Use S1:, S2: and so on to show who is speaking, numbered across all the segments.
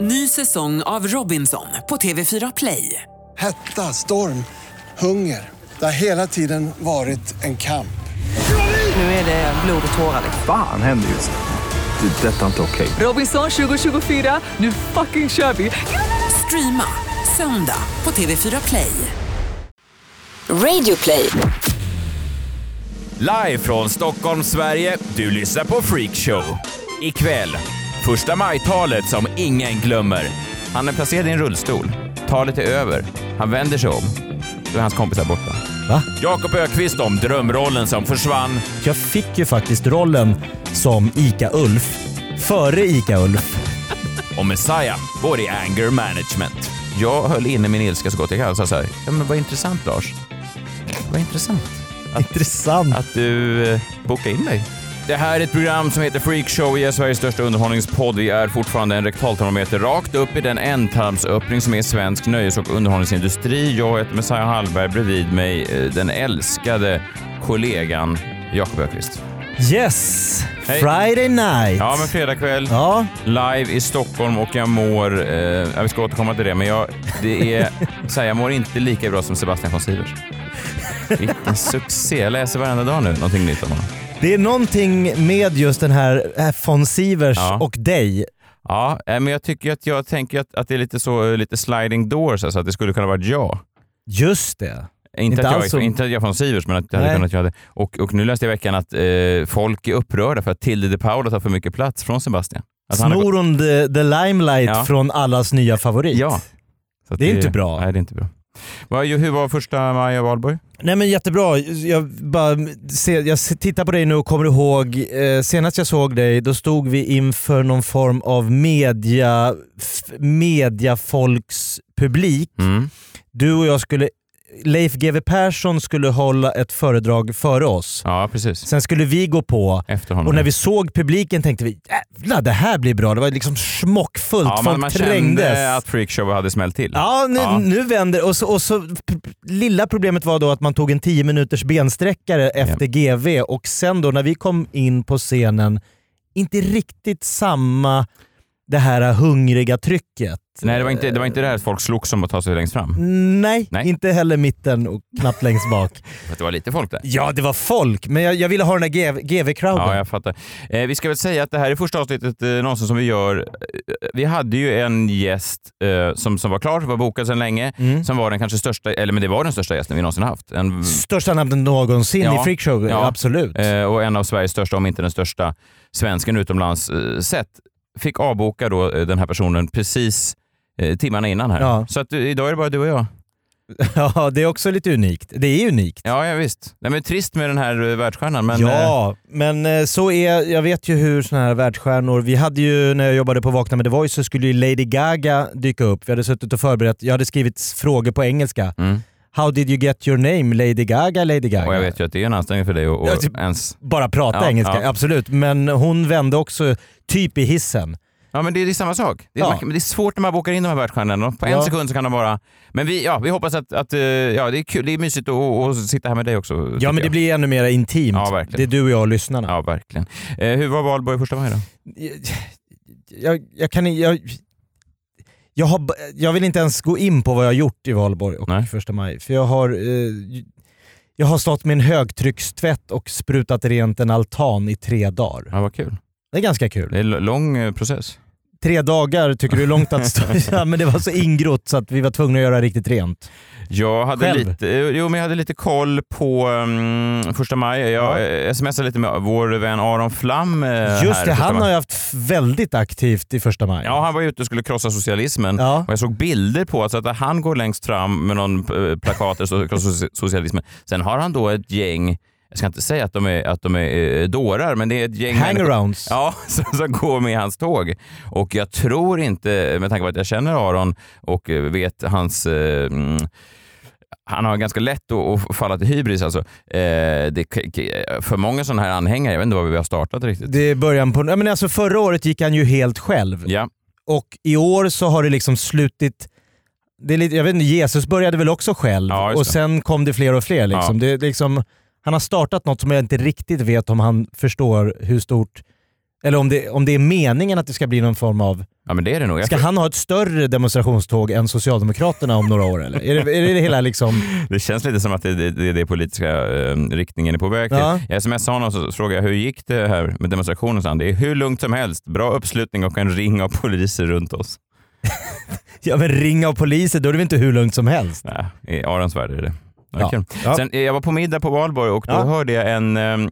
S1: Ny säsong av Robinson på TV4 Play.
S2: Hetta, storm, hunger. Det har hela tiden varit en kamp.
S1: Nu är det blod och tårar.
S3: Fan händer just nu. Det. är Detta är inte okej.
S1: Robinson 2024, nu fucking kör vi! Streama söndag på TV4 Play.
S4: Radio play.
S5: Live från Stockholm, Sverige. Du lyssnar på Freakshow. Ikväll, första maj-talet som ingen glömmer. Han är placerad i en rullstol. Talet är över. Han vänder sig om. Då är hans kompisar borta.
S6: Va?
S5: Jakob Ökvist om drömrollen som försvann.
S6: Jag fick ju faktiskt rollen som Ica-Ulf före Ica-Ulf.
S5: Och Messiah går i anger management. Jag höll inne min ilska så gott jag kan. Jag sa så här, ja men vad intressant Lars. Vad intressant.
S6: Intressant.
S5: att du eh, bokade in dig. Det här är ett program som heter Freak Show. Vi är Sveriges största underhållningspodd. Vi är fortfarande en rektaltermometer rakt upp i den ändtarmsöppning som är svensk nöjes och underhållningsindustri. Jag heter Messiah Hallberg, bredvid mig eh, den älskade kollegan Jakob Öqvist.
S6: Yes!
S5: Hej.
S6: Friday night.
S5: Ja, men fredag kväll,
S6: Ja,
S5: live i Stockholm och jag mår... Eh, ja, vi ska återkomma till det, men jag, det är, så här, jag mår inte lika bra som Sebastian von Sivers. Vilken succé! Jag läser varenda dag nu någonting nytt om honom.
S6: det är någonting med just den här eh, von Sivers
S5: Ja.
S6: och dig.
S5: Ja, eh, men jag tycker att jag tänker att, att det är lite så eh, lite sliding doors, alltså att det skulle kunna vara jag.
S6: Just det.
S5: Inte,
S6: Inte
S5: att, jag,
S6: alls som-
S5: inte att jag är från Sivers, men att det hade
S6: Nej.
S5: kunnat göra det. Och, och nu läste jag i veckan att eh, folk är upprörda för att Tilde de Paula tar för mycket plats från Sebastian. Att han har gått-
S6: Snor hon the, the limelight
S5: Ja.
S6: från allas nya favorit?
S5: Ja. Så att
S6: Det är inte bra.
S5: Nej, det är inte bra. Vad- Hur var första maj och valborg?
S6: Nej men jättebra. Jag, bara ser, jag tittar på dig nu och kommer ihåg eh, senast jag såg dig då stod vi inför någon form av media, f- mediafolkspublik. Du och jag skulle, Leif GW Persson skulle hålla ett föredrag före oss.
S5: Ja, precis.
S6: Sen skulle vi gå på
S5: Efter honom.
S6: och när vi såg publiken tänkte vi jävlar det här blir bra. Det var liksom smockfullt,
S5: ja,
S6: folk
S5: man, man
S6: trängdes.
S5: kände att freakshow hade smällt till.
S6: Ja, nu,
S5: Ja.
S6: nu vänder och så, och så p- p- Lilla problemet var då att man tog en 10 minuters bensträckare efter GV och sen då när vi kom in på scenen, inte riktigt samma det här hungriga trycket.
S5: Nej, det var, inte, det var inte det här att folk slogs om att ta sig längst fram.
S6: Nej,
S5: Nej.
S6: inte heller mitten och knappt längst bak.
S5: För att det var lite folk där.
S6: ja, det var folk, men jag, jag ville ha den där GV-crowden.
S5: Ja, jag fattar. Eh, vi ska väl säga att det här är första avsnittet eh, någonsin som vi gör. Eh, Vi hade ju en gäst eh, som, som var klar, som var bokad sedan länge,
S6: Mm.
S5: som var den kanske största, eller men det var den största gästen vi någonsin haft. En,
S6: Största namnet någonsin
S5: Ja.
S6: i freakshow,
S5: Ja.
S6: absolut.
S5: eh, och en av Sveriges största, om inte den största, svensken utomlands eh, sett. Fick avboka då eh, den här personen precis eh, timmarna innan här.
S6: Ja.
S5: Så att, eh, idag är det bara du och jag.
S6: Ja, det är också lite unikt. Det är unikt.
S5: Ja, ja visst. Nej, men trist med den här eh, världsstjärnan, men eh,
S6: ja, men eh, så är, jag vet ju hur såna här världsstjärnor, vi hade ju när jag jobbade på Vakna med The Voice så skulle ju Lady Gaga dyka upp. Vi hade suttit och förberett, jag hade skrivit frågor på engelska.
S5: Mm.
S6: How did you get your name Lady Gaga, Lady Gaga?
S5: eh, och jag vet ju att det är en ansträngning för dig och, och
S6: Ja, typ-
S5: ens...
S6: Bara prata
S5: Ja,
S6: engelska,
S5: ja.
S6: absolut. Men hon vände också typ i hissen.
S5: Ja, men det är, det är samma sak. Det är,
S6: Ja.
S5: man- men det är svårt när man bokar in de här världsstjärnorna. På en
S6: Ja.
S5: sekund så kan de bara... Men vi, ja, vi hoppas att, att eh, ja, det är kul. Det är mysigt att, att sitta här med dig också. tycker
S6: Ja men det
S5: jag.
S6: blir ännu mer intimt.
S5: Ja, verkligen.
S6: det är du och jag och lyssnarna.
S5: Ja, verkligen. Eh, hur var valborg första maj då?
S6: jag, jag kan jag, jag, har, b- jag vill inte ens gå in på vad jag har gjort i valborg och
S5: Nej.
S6: första maj. För jag har, eh, jag har stått med en högtryckstvätt och sprutat rent en altan i tre dagar.
S5: Ja, vad kul.
S6: Det är ganska kul.
S5: Det är en lång eh, process.
S6: Tre dagar tycker du är långt att stå ja, men Det var så ingrott så att vi var tvungna att göra riktigt rent.
S5: Jag hade,
S6: Själv?
S5: Lite, eh, jo, men jag hade lite koll på mm, första maj. Jag eh, smsade lite med vår vän Aron Flam. eh, här
S6: Just det,
S5: första
S6: han
S5: maj.
S6: har ju haft väldigt aktivt i första maj.
S5: Ja, han var ute och skulle krossa socialismen.
S6: Ja.
S5: Och jag såg bilder på alltså, att han går längst fram med någon eh, plakat där det står krossa soci- socialismen. Sen har han då ett gäng, jag ska inte säga att de är, att de är eh, dårar, men det är ett gäng människor-
S6: Hangarounds.
S5: Ja, som, som går med hans tåg. Och jag tror inte, med tanke på att jag känner Aron och eh, vet hans... eh, mm, han har ganska lätt att, att falla till hybris alltså. Eh, det, för många sådana här anhängare, jag vet inte vad vi har startat riktigt.
S6: Det är början på... Ja, men alltså förra året gick han ju helt själv.
S5: Ja.
S6: Och i år så har det liksom slutit... Det är lite, jag vet inte, Jesus började väl också själv
S5: Ja, just
S6: och
S5: det.
S6: sen kom det fler och fler. Liksom. Det, är liksom, han har startat något som jag inte riktigt vet om han förstår hur stort Eller om det, om det är meningen att det ska bli någon form av...
S5: Ja, men det är det nog. Jag
S6: Ska han ha ett större demonstrationståg än Socialdemokraterna om några år eller? Är det, är det hela liksom...
S5: Det känns lite som att det det- det är det, politiska eh, riktningen är på väg till.
S6: Ja.
S5: Jag smsade honom och så frågade jag hur gick det här med demonstrationen? Så han, det är hur lugnt som helst, bra uppslutning och en ring av poliser runt oss.
S6: Ja men ring av poliser, då är det väl inte hur lugnt som helst?
S5: Nej, I Arons värld är det.
S6: Ja.
S5: Okej.
S6: Ja.
S5: Sen, eh, jag var på middag på valborg och då
S6: Ja.
S5: hörde jag en, ehm,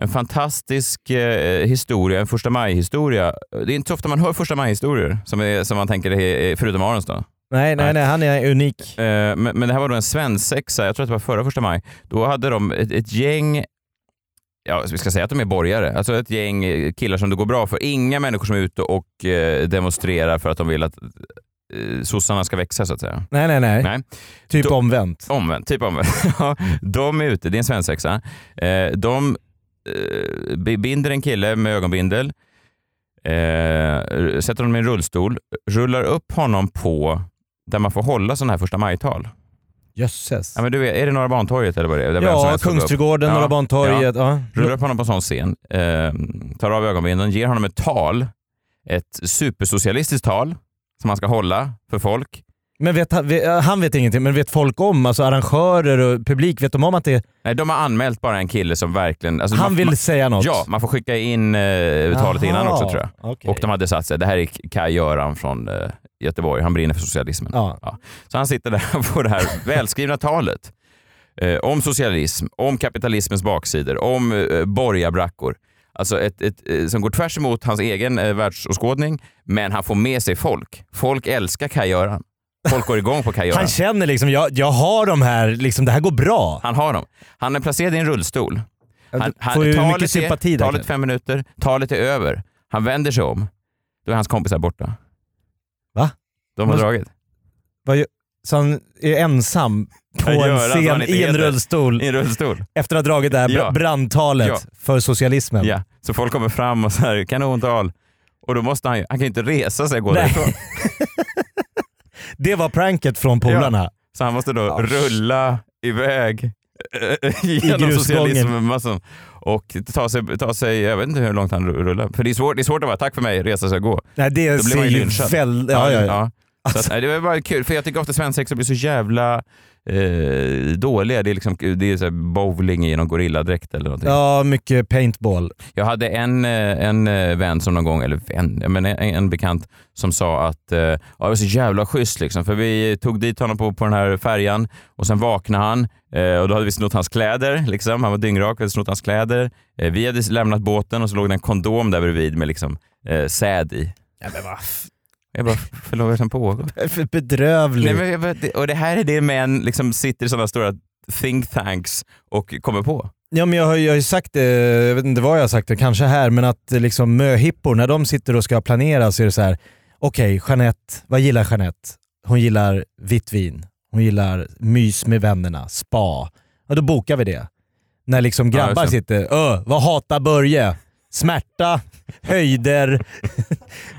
S5: en fantastisk eh, historia, en första maj-historia. Det är inte så ofta man hör första maj-historier, som, är- som man tänker, är, förutom Arons då.
S6: Nej, nej, nej, han är unik.
S5: Eh, men, men det här var då en svensexa, jag tror att det var förra första maj. Då hade de ett, ett gäng, ja vi ska säga att de är borgare, alltså ett gäng eh, killar som det går bra för. Inga människor som är ute och eh, demonstrerar för att de vill att eh, sossarna ska växa så att säga.
S6: Nej, nej, nej.
S5: Nej.
S6: Typ
S5: Då-
S6: omvänt.
S5: Omvänt, typ omvänt. Ja, de är ute, det är en svensexa. Eh, de eh, binder en kille med ögonbindel, eh, sätter honom i en rullstol, rullar upp honom på där man får hålla sådana här första majtal.
S6: Jösses.
S5: Ja, men du vet, är det Norra Bantorget eller vad det är? Där vem som
S6: Ja,
S5: helst får gå upp.
S6: Kungsträdgården,
S5: Ja,
S6: Norra Bantorget. Ja.
S5: Rullar upp honom på en sån scen, eh, tar av ögonbindeln, ger honom ett tal, ett supersocialistiskt tal som han ska hålla för folk.
S6: Men vet, han- vet- han vet ingenting, men vet folk om, alltså arrangörer och publik, vet de om att det,
S5: Nej, de har anmält bara en kille som verkligen... alltså,
S6: han
S5: man-
S6: vill
S5: man-
S6: säga något?
S5: Ja, man får skicka in eh, talet innan
S6: Aha,
S5: också tror jag.
S6: okej.
S5: Och de hade satt sig, det här är Kaj-Göran från eh, Göteborg, han brinner för socialismen.
S6: Ja.
S5: Så han sitter där och får det här välskrivna talet eh, om socialism, om kapitalismens baksidor, om eh, borgarbrackor. Alltså ett, ett, eh, som går tvärs emot hans egen eh, världsåskådning, men han får med sig folk. Folk älskar Kaj-Göran. Folk går igång på Kaj-Göran.
S6: Han känner liksom, jag, jag har de här, liksom, det här går bra.
S5: Han har dem. Han är placerad i en rullstol. Han, han,
S6: får ju
S5: talet
S6: mycket sympati
S5: är,
S6: där,
S5: Talet
S6: kanske.
S5: fem minuter, talet är över. Han vänder sig om. Då är hans kompisar borta.
S6: Va?
S5: De har
S6: Vad-
S5: dragit.
S6: Vad gör- Så han är ensam på
S5: Ja, gör
S6: en
S5: han, så han
S6: scen
S5: inte
S6: i en
S5: heter.
S6: rullstol
S5: I en rullstol.
S6: efter att ha dragit det här br-
S5: Ja.
S6: brandtalet
S5: Ja.
S6: för socialismen.
S5: Ja. Så folk kommer fram och så här, kanontal. Och då måste han ju, han kan ju inte resa sig och gå
S6: Nej.
S5: därifrån.
S6: Det var pranket från polarna.
S5: Så han måste då
S6: Ja.
S5: rulla iväg eh, genom
S6: grusgången.
S5: socialismmassan och ta sig, ta sig, jag vet inte hur långt han rullar. För det är svårt, det är svårt att vara tack för mig, resa sig och gå.
S6: Nej, det
S5: Då blir
S6: ser
S5: man ju
S6: ju
S5: lynchad.
S6: väldigt... Ja, Alltså. ja, ja.
S5: Så att, nej, det var bara kul, för jag tycker ofta svensexor blir så jävla eh, dåliga. Det är, liksom, det är så här bowling i någon gorilladräkt eller någonting.
S6: ja, mycket paintball.
S5: Jag hade en, eh, en eh, vän som någon gång, eller vän, jag menar en, en bekant som sa att eh, ja, det var så jävla schysst liksom, för vi tog dit honom på, på den här färjan och sen vaknade han eh, och då hade vi snott hans kläder. Liksom. Han var dyngrak, vi hade snott hans kläder. Eh, vi hade lämnat båten och så låg det en kondom där bredvid med liksom, eh, säd i.
S6: Ja, men vad f-
S5: Jag bara, förlåt vad är det som pågår?
S6: Eh, för bedrövligt.
S5: Nej, men, jag vet inte. och det här är det män liksom sitter i sådana stora think tanks och kommer på.
S6: Ja, men jag, har, ju- jag har ju sagt det, jag vet inte vad jag har sagt det, kanske här, men att eh, liksom, möhippor, när de sitter och ska planera så är det så här. okej Jeanette, vad gillar Jeanette? Hon gillar vitt vin, hon gillar mys med vännerna, spa. Ja, då bokar vi det. När liksom
S5: Ja,
S6: grabbar
S5: just det.
S6: sitter, öh, vad hatar Börje? Smärta, höjder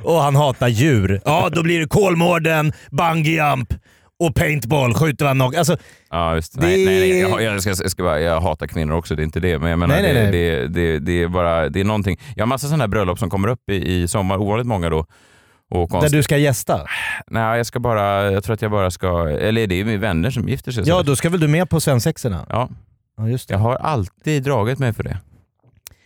S6: och han hatar djur. Ja, då blir det Kolmården, bungee jump och paintball, skjuter han någon. Alltså,
S5: Ja, just.
S6: Det-
S5: Nej, nej, nej. Jag, jag, ska, jag, ska bara, jag hatar kvinnor också, det är inte det. Men jag menar,
S6: Nej, nej,
S5: det, Det,
S6: nej.
S5: det, det är bara det är någonting. Jag har massa sådana här bröllop som kommer upp i, i sommar, ovanligt många då. Och
S6: där
S5: konst...
S6: du ska gästa.
S5: Nej, jag ska bara, jag tror att jag bara ska, eller det är ju vänner som gifter sig. så-
S6: Ja, då ska väl du med på svensexorna?
S5: ja.
S6: Ja, just det.
S5: Jag har alltid dragit mig för det.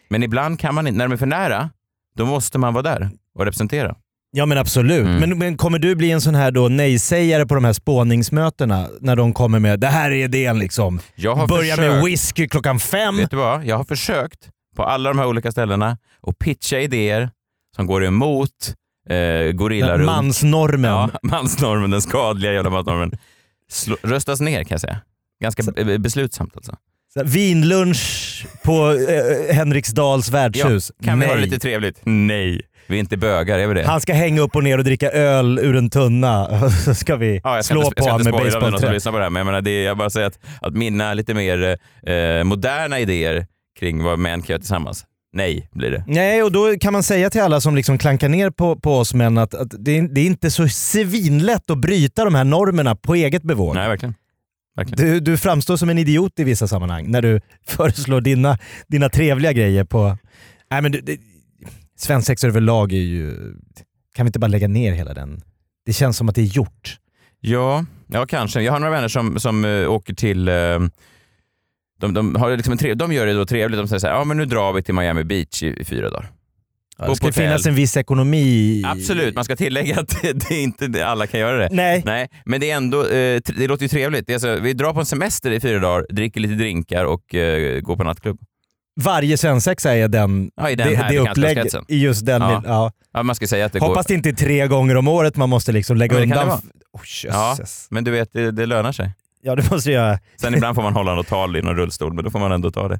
S5: Men ibland kan man inte, när de är för nära, då måste man vara där och representera.
S6: Ja men absolut.
S5: Mm.
S6: Men, men kommer du bli en sån här då nej-sägare på de här spåningsmötena? När de kommer med det här är idén liksom.
S5: Jag har
S6: Börja
S5: försökt...
S6: med whisky klockan fem.
S5: Vet du vad? Jag har försökt på alla de här olika ställena att pitcha idéer som går emot eh,
S6: Den
S5: gorillarum.
S6: mansnormen.
S5: ja, mansnormen, den skadliga jävla mansnormen. Slå, röstas ner kan jag säga. Ganska be- beslutsamt alltså.
S6: Så här, Vinlunch på eh, Henriksdals värdshus.
S5: kan vi ha
S6: Nej.
S5: det lite trevligt? Nej. Vi är inte bögar, är vi det?
S6: Han ska hänga upp och ner och dricka öl ur en tunna. Så ska vi
S5: Ja, jag ska
S6: slå
S5: inte,
S6: på
S5: jag
S6: honom
S5: ska
S6: med
S5: inte spoila om det är någon som
S6: basebollträ.
S5: lyssnar på det här, men jag, menar, det är, jag bara säger att, att mina lite mer eh, moderna idéer kring vad män kan göra tillsammans, nej blir det.
S6: Nej, och då kan man säga till alla som liksom klankar ner på, på oss män att, att det, är, det är inte så svinlätt att bryta de här normerna på eget bevåg.
S5: Nej, verkligen. verkligen.
S6: Du, du framstår som en idiot i vissa sammanhang när du föreslår dina, dina trevliga grejer på... Nej, men du, det, svensexor överlag är ju... Kan vi inte bara lägga ner hela den? Det känns som att det är gjort.
S5: Ja, ja kanske. Jag har några vänner som, som eh, åker till... eh, de, de, har liksom en tre, de gör det då trevligt. De säger så här, ja men nu drar vi till Miami Beach i, i fyra dagar. Bo
S6: Ja,
S5: på
S6: det ska
S5: hotell.
S6: finnas en viss ekonomi. i-
S5: Absolut, man ska tillägga att det, det är inte det, alla kan göra det.
S6: Nej.
S5: Nej, men det är ändå, eh, tr- det låter ju trevligt. Det är alltså, vi drar på en semester i fyra dagar, dricker lite drinkar och eh, går på nattklubb.
S6: Varje svensexa är den,
S5: Ja, i den
S6: det,
S5: här
S6: det upplägget.
S5: bekantskapskretsen.
S6: I just den.
S5: Ja.
S6: Ja. Ja.
S5: Ja, man ska säga att det går...
S6: Hoppas det inte är tre gånger om året man måste liksom lägga
S5: Ja, men det kan
S6: undan.
S5: det
S6: f- Oh,
S5: Ja,
S6: jösses.
S5: men du vet, det, det lönar sig.
S6: ja, det måste jag göra.
S5: Sen ibland får man hålla något tal i någon rullstol, men då får man ändå ta det.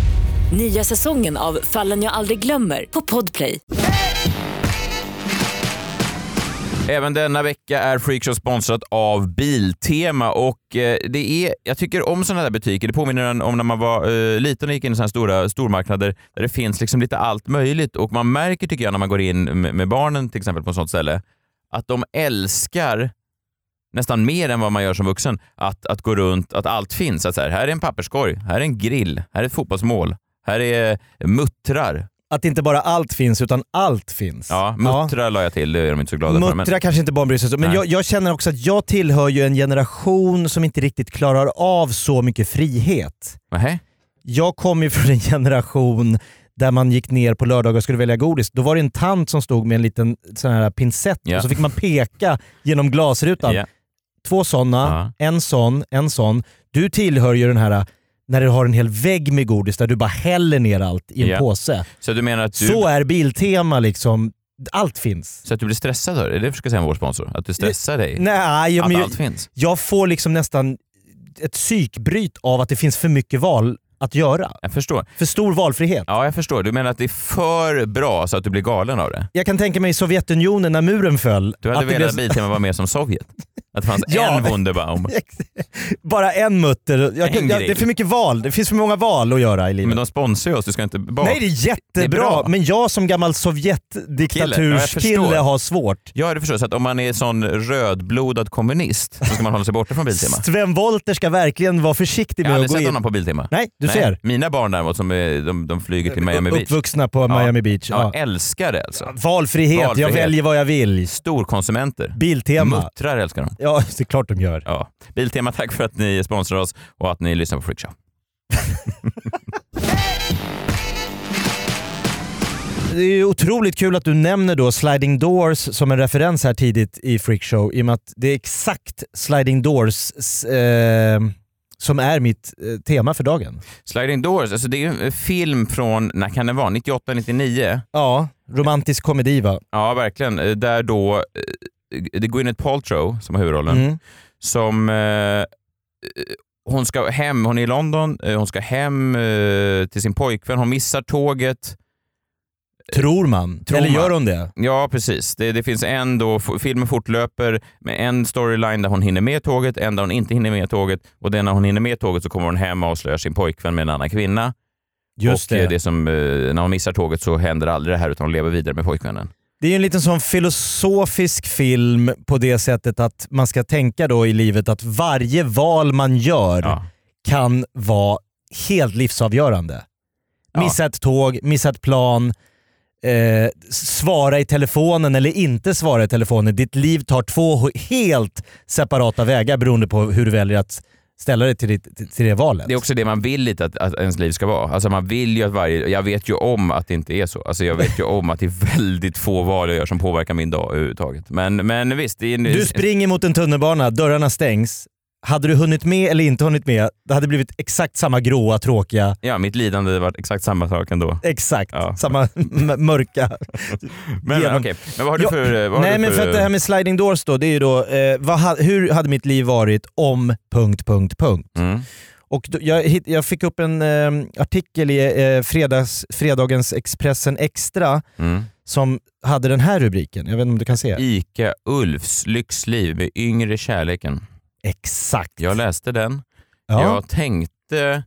S4: Nya säsongen av Fallen jag aldrig glömmer på Podplay.
S5: Även denna vecka är Freakshow sponsrat av Biltema och eh, det är, jag tycker om sådana här butiker. Det påminner om när man var eh, liten och gick in i sådana här stora stormarknader där det finns liksom lite allt möjligt och man märker tycker jag när man går in med, med barnen till exempel på ett sånt ställe att de älskar nästan mer än vad man gör som vuxen, att, att gå runt, att allt finns. Att så här, här är en papperskorg, här är en grill, här är ett fotbollsmål, här är muttrar.
S6: Att inte bara allt finns, utan allt finns.
S5: Ja, muttrar la jag till, det är de inte så glada för. Men,
S6: Muttra kanske inte barn bryr sig så, men
S5: Nej.
S6: jag, jag känner också att jag tillhör ju en generation som inte riktigt klarar av så mycket frihet.
S5: Nähä?
S6: Jag kom ju från en generation där man gick ner på lördagar och skulle välja godis. Då var det en tant som stod med en liten sån här pincett
S5: Ja.
S6: och så fick man peka genom glasrutan.
S5: Ja.
S6: Två sådana, en sån, en sån. Du tillhör ju den här när du har en hel vägg med godis där du bara häller ner allt i en
S5: Ja.
S6: påse.
S5: Så du menar att du...
S6: Så är Biltema liksom. Allt finns.
S5: Så att du blir stressad av det? Är det försöker säga om vår sponsor? Att du stressar dig?
S6: Nej, jag,
S5: att
S6: men jag,
S5: allt finns?
S6: jag får liksom nästan ett psykbryt av att det finns för mycket val att göra.
S5: Jag förstår.
S6: För stor valfrihet.
S5: Ja, jag förstår. Du menar att det är för bra så att du blir galen av det?
S6: Jag kan tänka mig i Sovjetunionen när muren föll.
S5: Du hade
S6: att det
S5: velat
S6: blev-
S5: Biltema vara med som Sovjet? Att det fanns
S6: Ja,
S5: en
S6: men-
S5: Wunderbaum?
S6: Bara en mutter. Jag,
S5: En
S6: jag, det är
S5: grill.
S6: för mycket val. Det finns för många val att göra i
S5: Men
S6: livet.
S5: de sponsrar ju oss, du ska inte bak.
S6: Nej, det är
S5: Det är
S6: jättebra.
S5: bra.
S6: men jag som gammal
S5: Kille. Ja, jag förstår.
S6: Sovjetdiktaturskille har svårt.
S5: Ja, det förstår jag. Så att om man är sån rödblodad kommunist så ska man hålla sig borta från Biltema?
S6: Sven Wollter ska verkligen vara försiktig
S5: Jag har
S6: med att
S5: aldrig
S6: gå
S5: sett
S6: in.
S5: honom på Biltema.
S6: Nej, du ser.
S5: Mina barn däremot, som är, de, de flyger till Miami Beach.
S6: Uppvuxna på Miami Beach.
S5: Ja,
S6: Ja.
S5: älskar det alltså.
S6: Valfrihet.
S5: Valfrihet.
S6: jag väljer vad jag vill.
S5: Storkonsumenter.
S6: Biltema.
S5: Muttrar älskar de.
S6: Ja, det är klart de gör.
S5: Ja. Biltema, tack för att ni sponsrar oss och att ni lyssnar på Freakshow.
S6: Det är ju otroligt kul att du nämner då Sliding Doors som en referens här tidigt i Freakshow i och med att det är exakt Sliding Doors s- eh, som är mitt eh, tema för dagen.
S5: Sliding Doors, alltså det är ju en film från, när kan det vara, 98, 99?
S6: Ja, romantisk komedi va?
S5: Ja, verkligen. Eh, Där då, eh, det går in ett Paltrow som har huvudrollen,
S6: Mm.
S5: som eh, eh, hon ska hem, hon är i London, eh, hon ska hem eh, till sin pojkvän, hon missar tåget.
S6: Tror man.
S5: Tror
S6: Eller
S5: man.
S6: gör hon det?
S5: Ja, precis. Det, det finns en då, f- filmen fortlöper med en storyline där hon hinner med tåget, en där hon inte hinner med tåget och den när hon hinner med tåget så kommer hon hem och avslöjar sin pojkvän med en annan kvinna. och eh, det som, eh, när hon missar tåget så händer aldrig det här utan hon lever vidare med pojkvännen.
S6: Det är ju en liten sån filosofisk film på det sättet att man ska tänka då i livet att varje val man gör
S5: Ja.
S6: kan vara helt livsavgörande.
S5: Ja.
S6: Missa ett tåg, missa ett plan, eh, svara i telefonen eller inte svara i telefonen. Ditt liv tar två h- helt separata vägar beroende på hur du väljer att ställa dig till, ditt, till- till det valet.
S5: Det är också det man vill lite att, att ens liv ska vara. Alltså man vill ju att varje, jag vet ju om att det inte är så. Alltså jag vet ju om att det är väldigt få val jag gör som påverkar min dag överhuvudtaget. Men, men visst, det är en,
S6: du springer mot en tunnelbana, dörrarna stängs. Hade du hunnit med eller inte hunnit med, det hade blivit exakt samma gråa, tråkiga,
S5: Ja, mitt lidande var exakt samma sak ändå.
S6: exakt
S5: Ja.
S6: samma m- mörka.
S5: Men,
S6: Genom-
S5: men okej, men vad har du
S6: Ja,
S5: för... Vad har
S6: Nej
S5: du
S6: men för att det här med sliding doors då, det är ju då, eh, vad, ha- hur hade mitt liv varit om... punkt, punkt, punkt.
S5: Mm.
S6: Och då, jag, hitt- jag fick upp en eh, artikel i eh, fredags, fredagens Expressen Extra
S5: Mm.
S6: som hade den här rubriken. Jag vet inte om du kan se?
S5: Ica Ulfs lyxliv med yngre kärleken.
S6: Exakt.
S5: Jag läste den.
S6: Ja.
S5: Jag tänkte...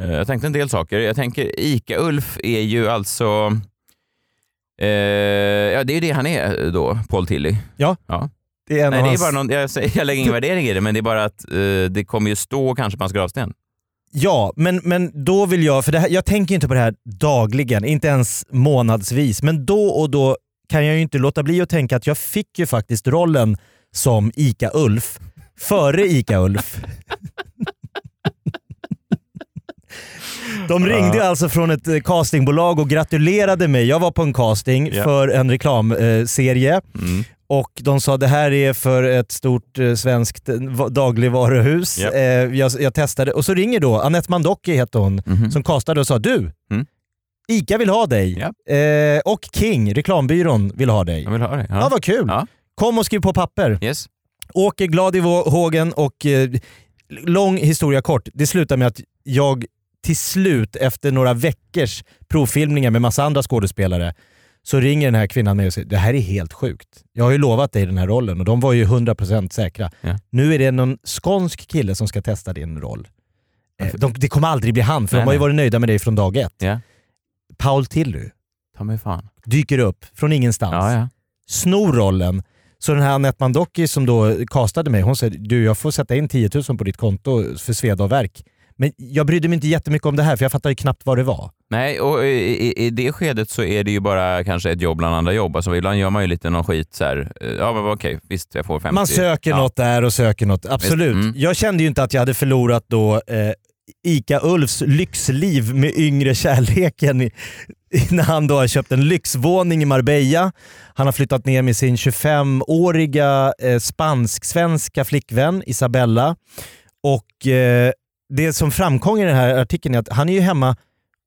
S5: eh, Jag tänkte en del saker. Jag tänker Ica-Ulf är ju alltså... Eh, ja, det är ju det han är då, Paul Tilly.
S6: Det är en
S5: Nej,
S6: av
S5: det är
S6: hans-
S5: bara någon, jag, säger- jag lägger ingen värdering i det, men det är bara att eh, det kommer ju stå kanske på hans gravsten.
S6: Ja, men, men då vill jag, för det här, jag tänker ju inte på det här dagligen, inte ens månadsvis, men då och då kan jag ju inte låta bli att tänka att jag fick ju faktiskt rollen som ICA-Ulf före ICA-Ulf. De ringde ju alltså från ett eh, castingbolag och gratulerade mig. Jag var på en casting
S5: Ja.
S6: för en reklamserie.
S5: Mm.
S6: Och de sa det här är för ett stort eh, svenskt eh, va- dagligvaruhus.
S5: Japp.
S6: Eh, jag, jag testade och så ringer då Anette Mandocki heter hon
S5: Mhm.
S6: som kastade och sa du,
S5: Mm.
S6: ICA vill ha dig
S5: Japp.
S6: eh, och King, reklambyrån, vill ha dig.
S5: Jag vill ha det.
S6: Ja, vad kul.
S5: Ja.
S6: Kom och skriv på papper.
S5: Yes.
S6: Åker glad i vå- hågen och eh, lång historia kort. Det slutar med att jag till slut efter några veckors provfilmningar med massa andra skådespelare så ringer den här kvinnan mig och säger det här är helt sjukt. Jag har ju lovat dig den här rollen och de var ju 100% säkra.
S5: Ja.
S6: Nu är det någon skånsk kille som ska testa din roll. Eh, De, det kommer aldrig bli han för
S5: Nej,
S6: de har ju
S5: nej.
S6: varit nöjda med dig från dag ett.
S5: Ja.
S6: Paul Tilly
S5: Ta mig fan.
S6: dyker upp från ingenstans
S5: Ja, ja.
S6: snor rollen. Så den här Anette Mandocki som då castade mig, hon säger du jag får sätta in 10 000 på ditt konto för sveda och verk. Men jag brydde mig inte jättemycket om det här för jag fattar ju knappt vad det var.
S5: Nej, och i, i, i det skedet så är det ju bara kanske ett jobb bland andra jobb. Alltså, ibland gör man ju lite någon skit så här. eh, Ja, men okej, visst jag får 50.
S6: Man söker
S5: ja.
S6: något där och söker något, absolut.
S5: Visst, mm.
S6: Jag kände ju inte att jag hade förlorat då eh, Ica-Ulfs lyxliv med yngre kärleken i, när han då har köpt en lyxvåning i Marbella. Han har flyttat ner med sin 25-åriga eh, spansk-svenska flickvän Isabella. Och eh, det som framkom i den här artikeln är att han är ju hemma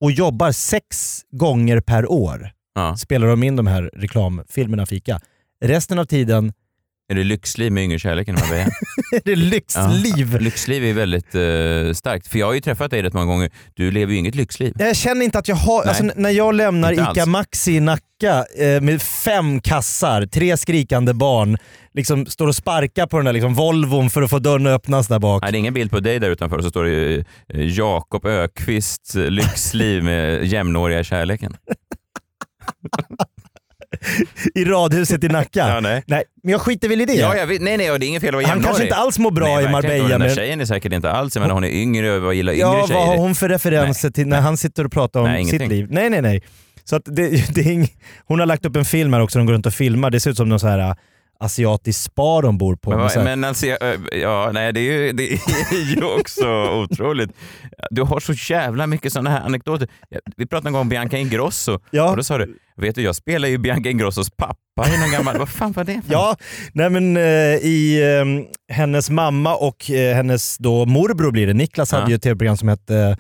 S6: och jobbar sex gånger per år.
S5: Ja.
S6: Spelar de in de här reklamfilmerna för Ica. Resten av tiden
S5: Är det lyxliv med yngre kärleken? vad säger jag?
S6: är det lyxliv.
S5: Ja. Lyxliv är väldigt eh, starkt. För jag har ju träffat dig rätt många gånger. Du lever ju inget lyxliv.
S6: Jag känner inte att jag har...
S5: Nej.
S6: Alltså, när jag lämnar
S5: Inte
S6: ICA
S5: alls.
S6: Maxi i Nacka eh, med fem kassar, tre skrikande barn, liksom står och sparkar på den där liksom, Volvon för att få dörren att öppnas där bak.
S5: Nej, det är ingen bild på dig där utanför. Så står det ju, eh, Jakob Ökvist eh, lyxliv med jämnåriga kärleken.
S6: I radhuset i Nacka.
S5: Ja, nej.
S6: Nej, men jag skiter väl i det.
S5: Ja, jag vet, nej, nej, och det är inget fel att vara
S6: Han
S5: jämnårig.
S6: kanske inte alls mår bra
S5: nej,
S6: i
S5: verkligen inte. Och
S6: Marbella.
S5: Den där
S6: Men...
S5: tjejen är säkert inte alls, jag menar hon är yngre och vad gillar yngre
S6: Ja,
S5: tjejer.
S6: vad har hon för referenser till när han sitter och pratar om
S5: Nej,
S6: sitt
S5: ingenting.
S6: liv? Nej, nej, nej. Så att det, det är ing... Hon har lagt upp en film här också, de går runt och filmar. Det ser ut som någon så här äh, asiatisk spa de bor på.
S5: Men,
S6: med
S5: vad-
S6: så här-
S5: men alltså, jag- ja, nej, det är ju, det är ju också otroligt. Du har så jävla mycket sådana här anekdoter. Vi pratade en gång om Bianca Ingrosso
S6: Ja.
S5: och då sa du, vet du jag spelar ju Bianca Ingrossos pappa i någon gammal, vad fan var det? för-
S6: Ja, nej men eh, i eh, hennes mamma och eh, hennes då morbror blir det. Niklas
S5: Ja.
S6: hade ju ett tv-program som hette...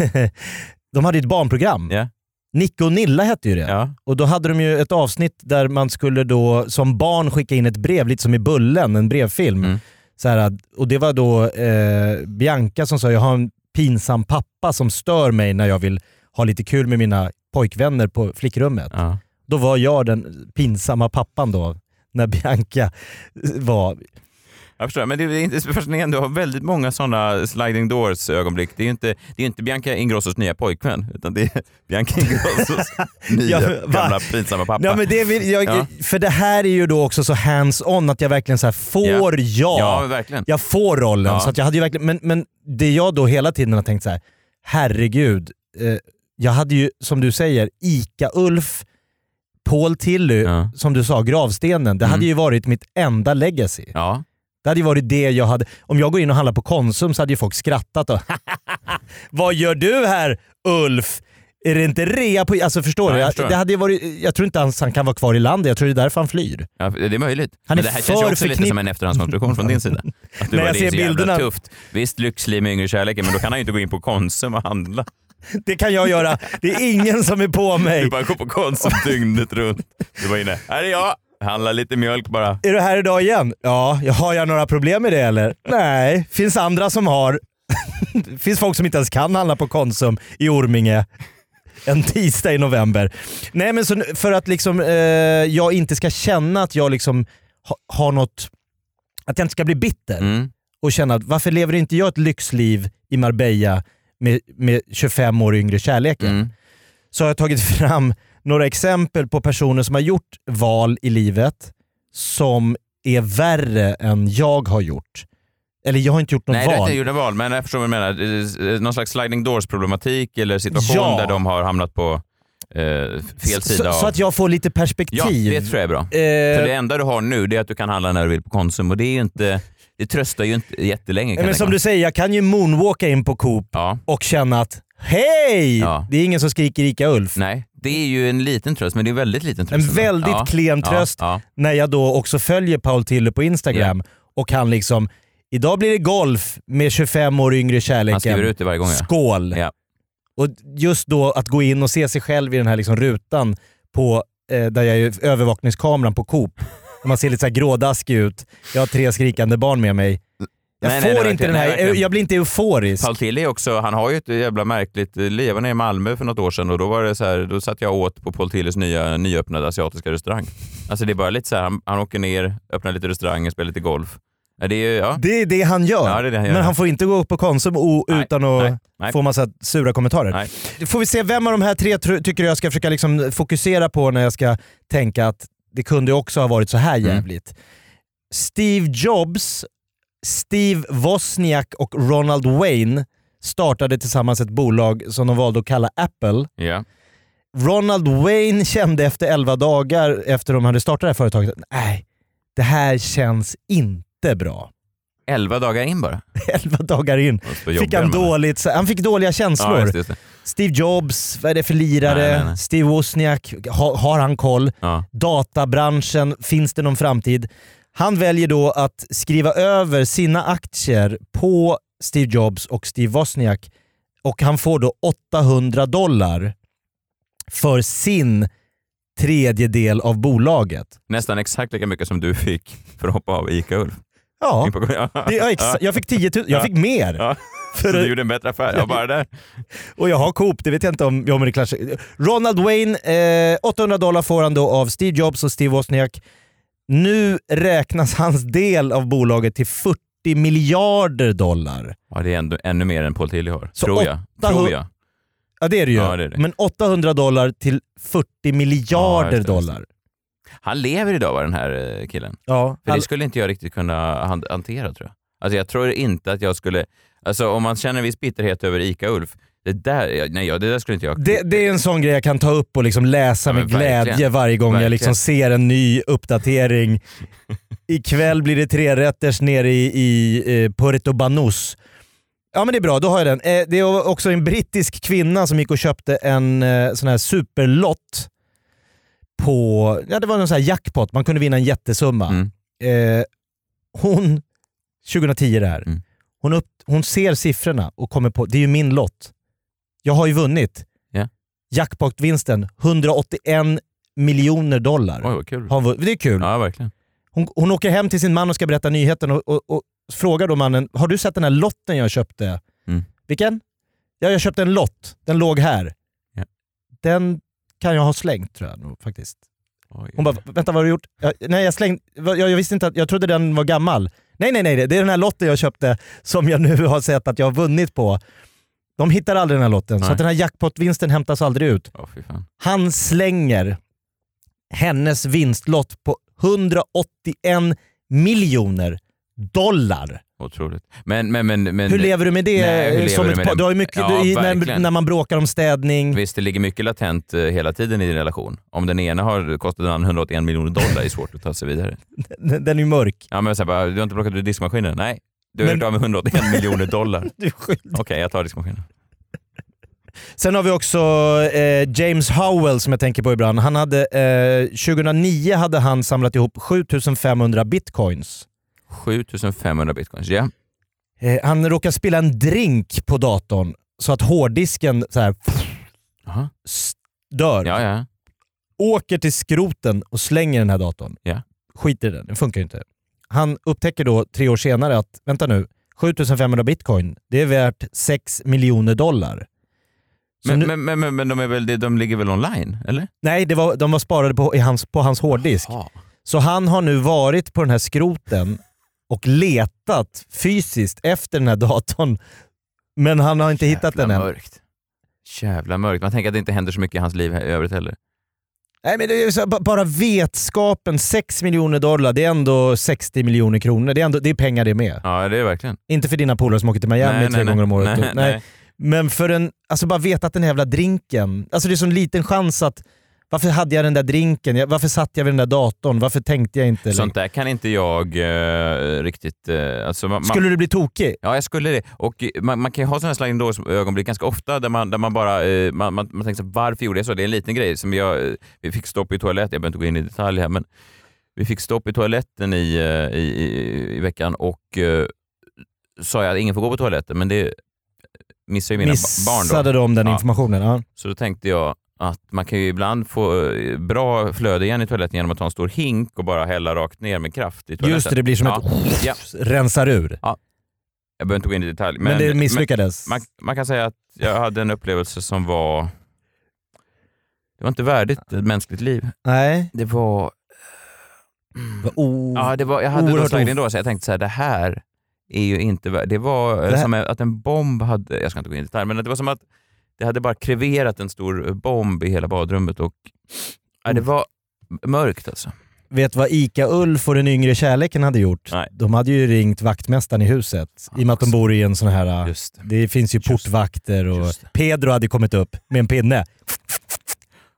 S6: eh, de hade ju ett barnprogram.
S5: Ja.
S6: Nicke och Nilla hette ju det.
S5: Ja.
S6: Och då hade de ju ett avsnitt där man skulle då som barn skicka in ett brev, lite som i Bullen, en brevfilm.
S5: Mm.
S6: Så här, att- och det var då eh, Bianca som sa, jag har en pinsam pappa som stör mig när jag vill ha lite kul med mina pojkvänner på flickrummet
S5: Ja.
S6: då var jag den pinsamma pappan då när Bianca var...
S5: Jag förstår, men det är inte så fascinerande. Du har väldigt många sådana sliding doors ögonblick. Det är ju inte, det är inte Bianca Ingrossos nya pojkvän, utan det är Bianca Ingrossos nya
S6: Ja, men va?
S5: gamla pinsamma pappa.
S6: Ja, men det vill jag,
S5: Ja.
S6: För det här är ju då också så hands-on att jag verkligen så här, får jag?
S5: Ja, men verkligen.
S6: jag får rollen.
S5: Ja.
S6: Så att jag hade ju verkligen, men, men det jag då hela tiden har tänkt så här, herregud. Eh, jag hade ju, som du säger, Ica-Ulf, Paul Tilly,
S5: Ja.
S6: som du sa, gravstenen. Det hade
S5: Mm.
S6: ju varit mitt enda legacy.
S5: Ja.
S6: Det hade ju varit det jag hade... Om jag går in och handlar på Konsum så hade ju folk skrattat och Vad gör du här Ulf? Är det inte rea på... Alltså förstår
S5: Ja,
S6: du?
S5: jag
S6: Jag,
S5: förstår.
S6: det hade ju varit, jag tror inte ens han kan vara kvar i landet. Jag tror det är därför han flyr.
S5: Ja, det är möjligt.
S6: Han
S5: men
S6: är
S5: det här känns ju
S6: för
S5: också lite
S6: förknipp-
S5: som en efterhandskonstruktion från din sida. Att du
S6: När
S5: bara,
S6: jag
S5: det är
S6: ser
S5: så jävla
S6: bilderna-
S5: tufft. Visst, lyxliv med yngre kärleken, men då kan han ju inte gå in på Konsum och handla.
S6: Det kan jag göra. Det är ingen som är på
S5: Du
S6: mig.
S5: bara går på Konsum dygnet runt. Du var inne. Här är jag. Handla lite mjölk bara.
S6: Är du här idag igen? Ja. "Ja, Har jag några problem med det eller? Nej. Finns andra som har. Finns folk som inte ens kan handla på Konsum i Orminge. En tisdag i november. Nej men så, nu- för att liksom, eh, jag inte ska känna att jag liksom ha, har något... Att jag inte ska bli bitter.
S5: Mm.
S6: och känna att varför lever inte jag ett lyxliv i Marbella med, med 25 år yngre kärleken?
S5: Mm.
S6: Så har jag tagit fram några exempel på personer som har gjort val i livet som är värre än jag har gjort. Eller jag har inte gjort något
S5: Nej, du har
S6: val.
S5: inte gjort val, men jag förstår vad du menar. Eh, Någon slags sliding doors-problematik eller situation
S6: Ja.
S5: där de har hamnat på eh, fel sida
S6: så,
S5: av...
S6: så att jag får lite perspektiv. Eh,
S5: ja, det tror jag är bra. För det enda du har nu det är att du kan handla när du vill på Konsum och det är ju inte... Det tröstar ju inte jättelänge. Kan
S6: men
S5: jag
S6: som
S5: tänka
S6: du
S5: mig.
S6: säger, jag kan ju moonwalka in på Coop
S5: Ja.
S6: och känna att hej!
S5: Ja.
S6: Det är ingen som skriker Ica Ulf.
S5: Nej, det är ju en liten tröst, men det är en väldigt liten tröst.
S6: En
S5: ändå.
S6: väldigt
S5: Ja,
S6: klen
S5: ja,
S6: tröst
S5: Ja,
S6: när jag då också följer Paul Tiller på Instagram och han liksom “Idag blir det golf med 25 år yngre kärleken.
S5: Han skriver ut det varje gång. Ja.
S6: Skål!”
S5: Ja.
S6: Och just då att gå in och se sig själv i den här liksom rutan på, eh, där jag är övervakningskameran på Coop. Och man ser lite så här grådaskig ut. Jag har tre skrikande barn med mig. Jag
S5: Nej, nej,
S6: får
S5: det är
S6: inte
S5: verkligen-
S6: den här,
S5: nej, verkligen.
S6: jag blir inte euforisk.
S5: Paul Tilly är också, han har ju ett jävla märkligt eh, liv. Jag var nere i Malmö för något år sedan och då var det så här, då satt jag åt på Paul Tillys nya nyöppnade asiatiska restaurang. Alltså det är bara lite så här, han, han åker ner, öppnar lite restauranger, spelar lite golf. Ja, det är ju, ja.
S6: Det är det han gör.
S5: Ja, det är det han gör.
S6: Men han får inte gå upp på Konsum o-
S5: Nej,
S6: utan att
S5: nej, nej.
S6: få massa sura kommentarer.
S5: Nej.
S6: Får vi se vem av de här tre tr- tycker jag ska försöka liksom fokusera på när jag ska tänka att det kunde ju också ha varit så här
S5: Mm.
S6: jävligt. Steve Jobs, Steve Wozniak och Ronald Wayne startade tillsammans ett bolag som de valde att kalla Apple.
S5: Ja.
S6: Ronald Wayne kände efter 11 dagar efter de hade startat det här företaget att nej, det här känns inte bra.
S5: Elva dagar in bara.
S6: 11 dagar in
S5: Och så
S6: fick
S5: jobbar
S6: han,
S5: man.
S6: dåligt, han fick dåliga känslor.
S5: Ja, just det, just det.
S6: Steve Jobs, vad är det för lirare?
S5: Nej, nej, nej.
S6: Steve Wozniak, ha, har han koll?
S5: Ja.
S6: Databranschen, finns det någon framtid? Han väljer då att skriva över sina aktier på Steve Jobs och Steve Wozniak och han får då 800 dollar för sin tredjedel av bolaget.
S5: Nästan exakt lika mycket som du fick för att hoppa av Ica-Ulf.
S6: Ja,
S5: Ja.
S6: det, ja, exa- jag fick 10 000, jag fick mer.
S5: Ja. Så du gjorde en bättre affär. Jag bara där.
S6: Och jag har Coop, det vet jag inte om, ja, men det kanske... Ronald Wayne, eh, 800 dollar får han då av Steve Jobs och Steve Wozniak. Nu räknas hans del av bolaget till 40 miljarder dollar.
S5: Ja, det är ändå, ännu mer än Paul Tilly har.
S6: Så
S5: tror jag. Tror jag.
S6: Ja det är det ju.
S5: Ja, det är det.
S6: Men 800 dollar till 40
S5: Ja,
S6: miljarder
S5: just det, just det.
S6: dollar.
S5: Han lever idag va, den här eh, killen.
S6: Ja,
S5: För
S6: all-
S5: det skulle inte jag riktigt kunna han- hantera tror jag. Alltså jag tror inte att jag skulle, alltså om man känner en viss bitterhet över ICA-Ulf, det där, jag- nej ja, det där skulle inte jag.
S6: det, det är en sån grej jag kan ta upp och liksom läsa
S5: Ja, men
S6: med glädje
S5: verkligen.
S6: varje gång jag
S5: Verkligen.
S6: liksom ser en ny uppdatering. Ikväll blir det trerätters nere i, i eh, Puerto Banús. Ja men det är bra, då har jag den. Eh, det är också en brittisk kvinna som gick och köpte en eh, sån här superlott på, ja det var någon sån här jackpot, man kunde vinna en jättesumma.
S5: Mm.
S6: Eh, hon, 2010 det här,
S5: Mm.
S6: hon, upp, hon ser siffrorna och kommer på, det är ju min lott. Jag har ju vunnit.
S5: Ja.
S6: Jackpotvinsten, 181 miljoner dollar.
S5: Oj vad kul.
S6: Har hon vunn- det är kul.
S5: Ja verkligen.
S6: Hon, hon åker hem till sin man och ska berätta nyheten och, och, och frågar då mannen, har du sett den här lotten jag köpte?
S5: Mm.
S6: Vilken? Ja, jag köpte en lott. Den låg här.
S5: Ja.
S6: Den kan jag ha slängt tror jag nog faktiskt.
S5: Oj.
S6: Hon bara, vänta vad har du gjort? Jag, nej jag slängde, jag, jag visste inte att, jag trodde den var gammal. Nej nej nej, det är den här lotten jag köpte som jag nu har sett att jag har vunnit på. De hittar aldrig den här lotten, så
S5: Nej.
S6: att den här jackpotvinsten hämtas aldrig ut.
S5: Ja, fy fan.
S6: Han slänger hennes vinstlott på 181 miljoner dollar.
S5: Otroligt. Men, men, men, men
S6: Hur lever du med det?
S5: Nej, hur lever
S6: som
S5: du
S6: ett
S5: med
S6: par-
S5: det?
S6: du har ju mycket,
S5: Ja,
S6: du, i- när,
S5: verkligen.
S6: när man bråkar om städning.
S5: visst, det ligger mycket latent eh, hela tiden i din relation. Om den ena har kostat den andra 181 miljoner dollar är det svårt att ta sig vidare.
S6: Den är ju mörk.
S5: Ja, men så här, bara, du har inte plockat ur diskmaskinen? Nej, du har
S6: Men-
S5: gjort av med 181 miljoner dollar.
S6: Du är skyldig.
S5: Okej, jag tar diskmaskinen.
S6: Sen har vi också eh, James Howell som jag tänker på ibland. Han hade, eh, 2009 hade han samlat ihop 7500 bitcoins.
S5: 7500 bitcoins, ja.
S6: Eh, han råkade spilla en drink på datorn så att hårddisken så här, pff,
S5: Aha.
S6: s- dör.
S5: Ja, ja.
S6: Åker till skroten och slänger den här datorn.
S5: Ja.
S6: Skiter i den, den funkar ju inte. Han upptäcker då tre år senare att, vänta nu, 7500 bitcoin, det är värt 6 miljoner dollar. Så
S5: Men,
S6: nu-
S5: men, men, men, men de, är väl, de ligger väl online, eller?
S6: Nej, det var, de var sparade på, i hans, på hans hårddisk.
S5: Ja.
S6: Så han har nu varit på den här skroten och letat fysiskt efter den här datorn. Men han har inte hittat den än.
S5: mörkt. Jävla mörkt. Man tänker att det inte händer så mycket i hans liv här i övrigt heller.
S6: Nej, men det är ju så, ba- bara vetskapen, 6 miljoner dollar, det är ändå 60 miljoner kronor. Det är, ändå, det är pengar det med.
S5: Ja, det är det verkligen.
S6: Inte för dina polare som åker till Miami tre gånger om året.
S5: Nej,
S6: och-
S5: nej. nej.
S6: Men för en, alltså bara veta att den här jävla drinken, alltså det är så liten chans att varför hade jag den där drinken? Jag- Varför satt jag vid den där datorn? Varför tänkte jag inte?
S5: Sånt där kan inte jag eh, riktigt... eh, alltså, man, man-
S6: Skulle du bli tokig?
S5: Ja, jag skulle det. Och eh, man, man kan ju ha sådana sliding doors ögonblick ganska ofta där man, där man bara eh, man, man, man tänker så här, varför gjorde jag så? Det är en liten grej som jag, eh, vi fick stopp i toaletten, jag behöver inte gå in i detalj här, men vi fick stopp i toaletten i, eh, i, i, i veckan och eh, sa jag att ingen får gå på toaletten, men det missar ju mina ba- barn då.
S6: Missade de den
S5: Ja.
S6: informationen? Ja.
S5: Så då tänkte jag att man kan ju ibland få eh, bra flöde igen i toaletten genom att ta en stor hink och bara hälla rakt ner med kraft i toaletten.
S6: Just det, det blir som
S5: ja.
S6: ett
S5: Ja.
S6: rensar ur. Men,
S5: Jag behöver inte gå in i detalj. Men,
S6: det misslyckades.
S5: Man, man kan säga att jag hade en upplevelse som var... Det var inte värdigt ett mänskligt liv.
S6: Nej.
S5: Det var...
S6: Oh.
S5: Ja, det var jag hade
S6: Oerhört
S5: då slagit in
S6: of-
S5: då, så jag tänkte så här, det här är ju inte värdigt. Det var eh,
S6: Det här-
S5: som att en bomb hade... Jag ska inte gå in i detalj, men det var som att det hade bara kreverat en stor eh, bomb i hela badrummet och... Ja,
S6: Oh.
S5: det var mörkt alltså.
S6: Vet vad Ica-Ulf och den yngre kärleken hade gjort?
S5: Nej.
S6: De hade ju ringt vaktmästaren i huset. I och med att de bor i en sån här...
S5: Just det.
S6: Det finns ju
S5: Just det.
S6: portvakter och
S5: Just det.
S6: Pedro hade kommit upp med en pinne.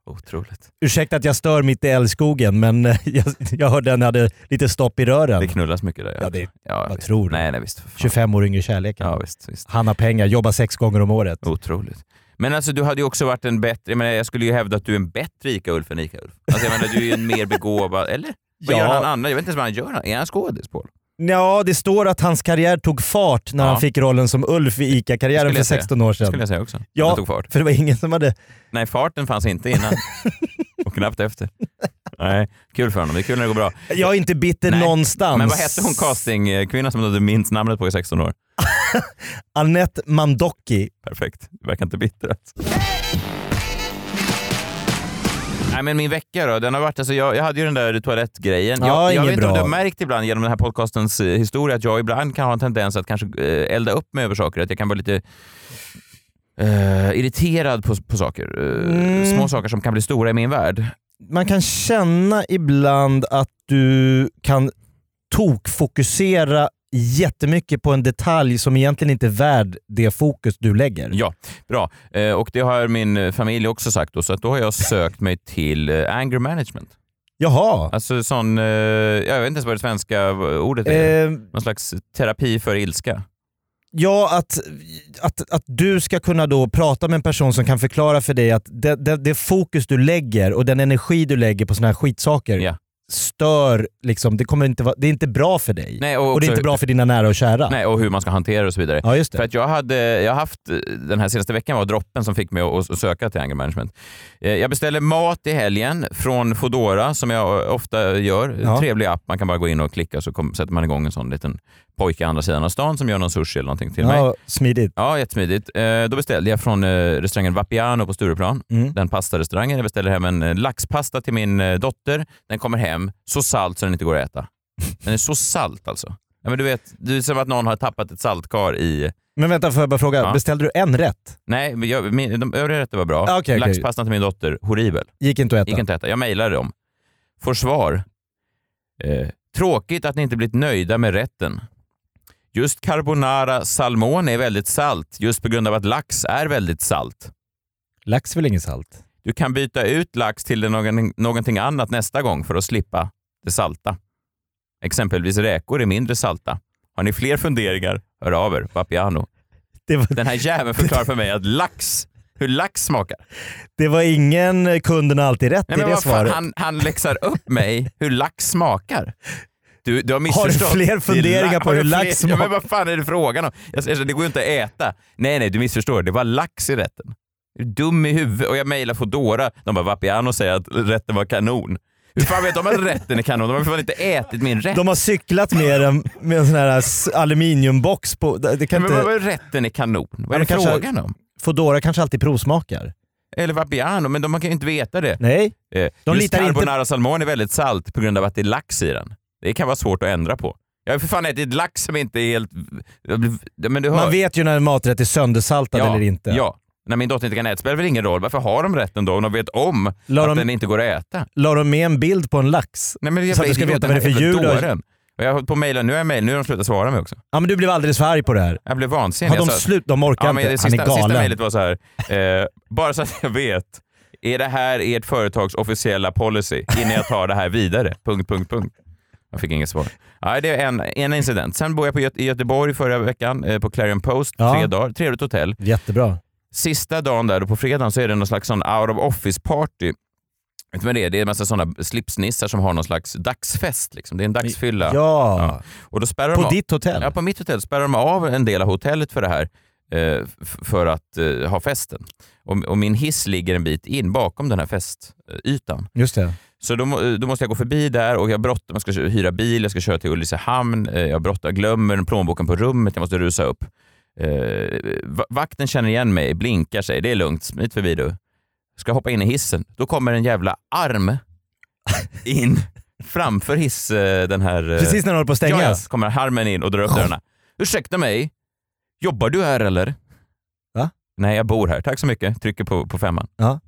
S5: Otroligt.
S6: Ursäkta att jag stör mitt i älskogen men eh, jag, jag hörde att ni hade lite stopp i rören.
S5: Det knullas mycket där.
S6: Ja, det-
S5: ja,
S6: vad
S5: visst.
S6: tror du?
S5: Nej, nej visst. för fan.
S6: 25 år yngre kärleken.
S5: Ja, visst, visst.
S6: Han har pengar, jobbar sex gånger om året.
S5: Otroligt. Men alltså du hade ju också varit en bättre, jag, menar, jag skulle ju hävda att du är en bättre Ica-Ulf än Ica-Ulf. Alltså jag menar du är ju en mer begåvad, eller? Vad
S6: Ja.
S5: gör han annan? Jag vet inte ens vad han gör. Är han skådis Paul?
S6: Ja, det står att hans karriär tog fart när
S5: Ja.
S6: han fick rollen som Ulf i ICA-karriären
S5: Skulle
S6: för
S5: jag säga.
S6: 16 år
S5: Det skulle
S6: sedan.
S5: jag säga också.
S6: Ja.
S5: Han tog fart.
S6: För det var ingen som hade...
S5: Nej, farten fanns inte innan. Och knappt efter. Nej, kul för honom. Det är kul när det går bra.
S6: Jag är inte bitter
S5: Nej.
S6: någonstans.
S5: Men vad hette hon castingkvinnan som du hade minst namnet på i 16 år?
S6: Annette Mandocki.
S5: Perfekt. Det verkar inte bittert. Nej, men min vecka då, den har varit, alltså jag, jag hade ju den där toalettgrejen.
S6: Ja,
S5: jag jag
S6: ingen
S5: vet inte om du
S6: bra.
S5: har märkt ibland genom den här podcastens eh, historia att jag ibland kan ha en tendens att kanske eh, elda upp mig över saker. Att jag kan vara lite eh, irriterad på, på saker. Eh,
S6: Mm.
S5: Små saker som kan bli stora i min värld.
S6: Man kan känna ibland att du kan tokfokusera jättemycket på en detalj som egentligen inte är värd det fokus du lägger.
S5: Ja, bra. Eh, och det har min eh, familj också sagt då, så att då har jag sökt mig till eh, anger management.
S6: Jaha.
S5: Alltså sån, eh, jag vet inte ens vad det svenska ordet är.
S6: Eh,
S5: Någon slags terapi för ilska.
S6: ja, att, att, att du ska kunna då prata med en person som kan förklara för dig att det, det, det fokus du lägger och den energi du lägger på såna här skitsaker
S5: Ja.
S6: stör, liksom, det, kommer inte, vara- det är inte bra för dig.
S5: Nej, och,
S6: och det är
S5: också-
S6: inte bra för dina nära och kära.
S5: Nej, och hur man ska hantera det och så vidare.
S6: Ja, just det.
S5: För att jag hade, jag har haft, den här senaste veckan var droppen som fick mig att, att söka till anger management. Eh, Jag beställde mat i helgen från Foodora som jag ofta gör.
S6: Ja.
S5: Trevlig app, man kan bara gå in och klicka så kom, sätter man igång en sån liten pojke i andra sidan av stan som gör någon sushi eller någonting till mig.
S6: ja, smidigt.
S5: Ja, jättesmidigt. Eh, Då beställde jag från eh, restaurangen Vapiano på Stureplan,
S6: Mm.
S5: den pastarestaurangen. Jag beställer hem en eh, laxpasta till min eh, dotter. Den kommer hem så salt så den inte går att äta. Den är så salt alltså. Ja, men du vet, det är som att någon har tappat ett saltkar i...
S6: Men vänta, får jag bara fråga.
S5: Ja.
S6: Beställde du en rätt?
S5: Nej, men jag, min, de övriga rätter var bra.
S6: Ah, okej, okej.
S5: Laxpastan till min dotter, horribel.
S6: Gick inte att äta?
S5: Gick inte att äta. Jag mejlade dem. Får svar. Eh, tråkigt att ni inte blivit nöjda med rätten. Just carbonara salmone är väldigt salt just på grund av att lax är väldigt salt.
S6: Lax är väl inget salt?
S5: Du kan byta ut lax till någon, någonting annat nästa gång för att slippa det salta. Exempelvis räkor är mindre salta. Har ni fler funderingar, hör av er. Papiano.
S6: Det var,
S5: Den här jäveln förklarar för mig att lax hur lax smakar.
S6: Det var ingen kunden har alltid rätt i det
S5: vad fan,
S6: svaret.
S5: han, han läxar upp mig hur lax smakar. Du, du har
S6: du
S5: missförstått.
S6: fler
S5: Det är
S6: funderingar
S5: la-
S6: på
S5: har du
S6: hur lax
S5: Ja,
S6: smakar?
S5: men vad fan är det frågan om? Jag säger så här, det går ju inte att äta. Nej, nej, du missförstår. Det var lax i rätten. Är du dum i huvudet? Och jag mejlar Foodora. De bara, Vapiano säger att rätten var kanon. Hur fan vet de att rätten är kanon? De har för fan inte ätit min rätt.
S6: De har cyklat med en, med en sån här s- aluminiumbox på. Det kan
S5: Men vad
S6: inte,
S5: vad är rätten är kanon? Vad är
S6: men
S5: det
S6: kanske-
S5: frågan om?
S6: Foodora kanske alltid provsmakar.
S5: Eller Vapiano, men de kan ju inte veta det.
S6: Nej,
S5: Eh,
S6: De
S5: Just
S6: litar inte-
S5: carbonara salmon är väldigt salt på grund av att det är lax i den. Det kan vara svårt att ändra på. Jag har för fan ätit lax som inte är helt... jag blev- Men du hör.
S6: man vet ju när en maträtt är söndersaltad
S5: ja,
S6: eller inte.
S5: Ja. När min dotter inte kan äta spelar väl ingen roll. Varför har de rätten då om de vet om
S6: La
S5: att
S6: de-
S5: den inte går att äta?
S6: La de med en bild på en lax?
S5: Nej, men
S6: Så att du ska veta vad det är för djur du har-
S5: har... Jag har hållit på och mejlat. Nu har jag mejlat. Nu har de slutat svara mig också.
S6: Ja men du blev alldeles för arg på det här.
S5: Jag blev vansinnig.
S6: Har de
S5: Jag sa-
S6: slut? De
S5: alltså-
S6: orkar
S5: Ja, men
S6: inte.
S5: det
S6: Han är
S5: sista, sista
S6: galen.
S5: mejlet var så här. Eh, bara så att jag vet. Är det här ert företags officiella policy innan jag tar det här vidare? Punkt, punkt, punkt. Jag fick inget svar. Nej, det är en, en incident. Sen bor jag på Göte- i Göteborg förra veckan eh, på Clarion Post,
S6: Ja.
S5: tre dagar. Trevligt hotell.
S6: Jättebra.
S5: Sista dagen där och på fredagen så är det någon slags sån out of office party. Vet du vad det är? Det är en massa sådana slipsnissar som har någon slags dagsfest. Liksom. Det är en dagsfylla.
S6: Ja.
S5: Ja. Och då spärrar de
S6: På
S5: av-
S6: ditt hotell?
S5: Ja, på mitt hotell spärrar de av en del av hotellet för det här eh, f- för att eh, ha festen. Och, och min hiss ligger en bit in bakom den här festytan.
S6: Just det.
S5: Så då, må- eh, då måste jag gå förbi där och jag har bråttom. Jag ska kö- hyra bil, jag ska köra till Ulricehamn. eh, Jag har bråttom, jag glömmer plånboken på rummet, jag måste rusa upp. Eh, va- vakten känner igen mig, blinkar sig. Det är lugnt, smit förbi du. Ska hoppa in i hissen. Då kommer en jävla arm in framför hiss, eh, den här... eh,
S6: Precis när de håller på att
S5: Ja, ja.
S6: stängas?
S5: kommer harmen in och drar upp dörrarna. Ursäkta mig, jobbar du här eller?
S6: Va?
S5: Nej, jag bor här. Tack så mycket. Trycker på, på femman.
S6: Ja.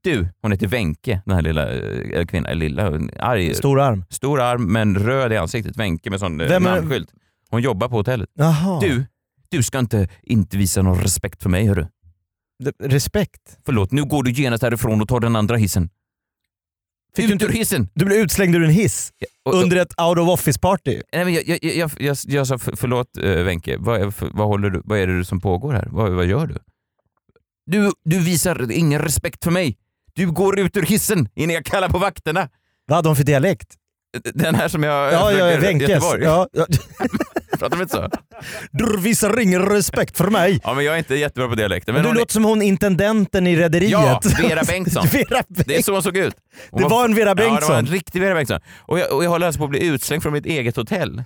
S5: Du, hon heter Wenke, den här lilla eh, kvinnan. eller Lilla, hon är arg. Stor.
S6: Stor arm.
S5: arm men röd i ansiktet. Wenke med sån eh,
S6: Vem är-
S5: namnskylt. Hon jobbar på hotellet.
S6: Jaha.
S5: Du, du ska inte, inte visa någon respekt för mig hörru.
S6: D- Respekt.
S5: Förlåt, nu går du genast härifrån och tar den andra hissen.
S6: Fick
S5: Ut
S6: du inte-
S5: ur hissen!
S6: Du blev utslängd ur en hiss
S5: Och-
S6: under ett out of office-party.
S5: Nej, men jag, jag, jag, jag, jag, jag sa för, förlåt eh, Wenche, vad, är- för- vad, håller du, vad är det som pågår här? Vad, vad gör du? du? Du visar ingen respekt för mig. Du går ut ur hissen innan jag kallar på vakterna. Eh,
S6: Vad hade hon för dialekt?
S5: Den här som jag...
S6: Ja, ja,
S5: försöker-
S6: Wenkes.
S5: Göteborg.
S6: Ja, ja.
S5: Pratar vi inte så?
S6: Du visar ingen respekt för mig.
S5: Ja, men jag är inte jättebra på dialekter. Men
S6: du
S5: hon är-
S6: låter som hon intendenten i Rederiet.
S5: Ja, Vera Bengtsson.
S6: Vera
S5: Det är så hon såg ut. Hon
S6: Det var en Vera
S5: Ja, det var
S6: Bengtsson.
S5: en riktig Vera Bengtsson. Och jag, och jag håller alltså på att bli utslängd från mitt eget hotell.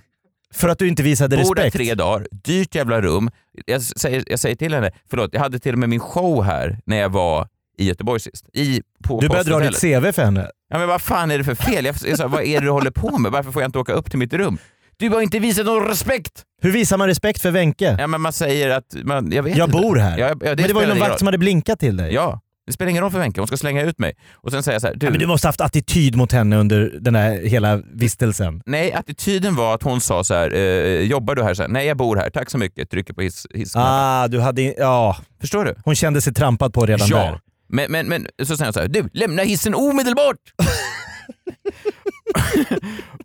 S6: För att du inte visade
S5: Bor där
S6: respekt.
S5: tre dagar, dyrt jävla rum. Jag säger, jag säger till henne, förlåt, jag hade till och med min show här när jag var i Göteborg sist. I, på
S6: Du började dra
S5: posthotellet.
S6: ditt CV för henne.
S5: Ja, men vad fan är det för fel? Jag, jag sa, vad är det du håller på med? Varför får jag inte åka upp till mitt rum? Du har inte visat någon respekt!
S6: Hur visar man respekt för Wenke?
S5: Ja, men man säger att... Man, jag vet
S6: Jag
S5: inte.
S6: bor här.
S5: Ja, ja, det
S6: Men det var ju
S5: spelar
S6: någon
S5: ingen
S6: vakt
S5: roll.
S6: som hade blinkat till dig.
S5: Ja, det spelar ingen roll för Wenche. Hon ska slänga ut mig. Och sen säger jag så här, du,
S6: Ja, Men du måste haft attityd mot henne under den här hela vistelsen.
S5: Nej, attityden var att hon sa så här, eh, jobbar du här? Så här, Nej, jag bor här. Tack så mycket. Trycker på hiss, hissknappen.
S6: Ah, du hade... in- Ja,
S5: Förstår du?
S6: hon kände sig trampad på redan där.
S5: Men, men, men så säger han så här, du lämna hissen omedelbart!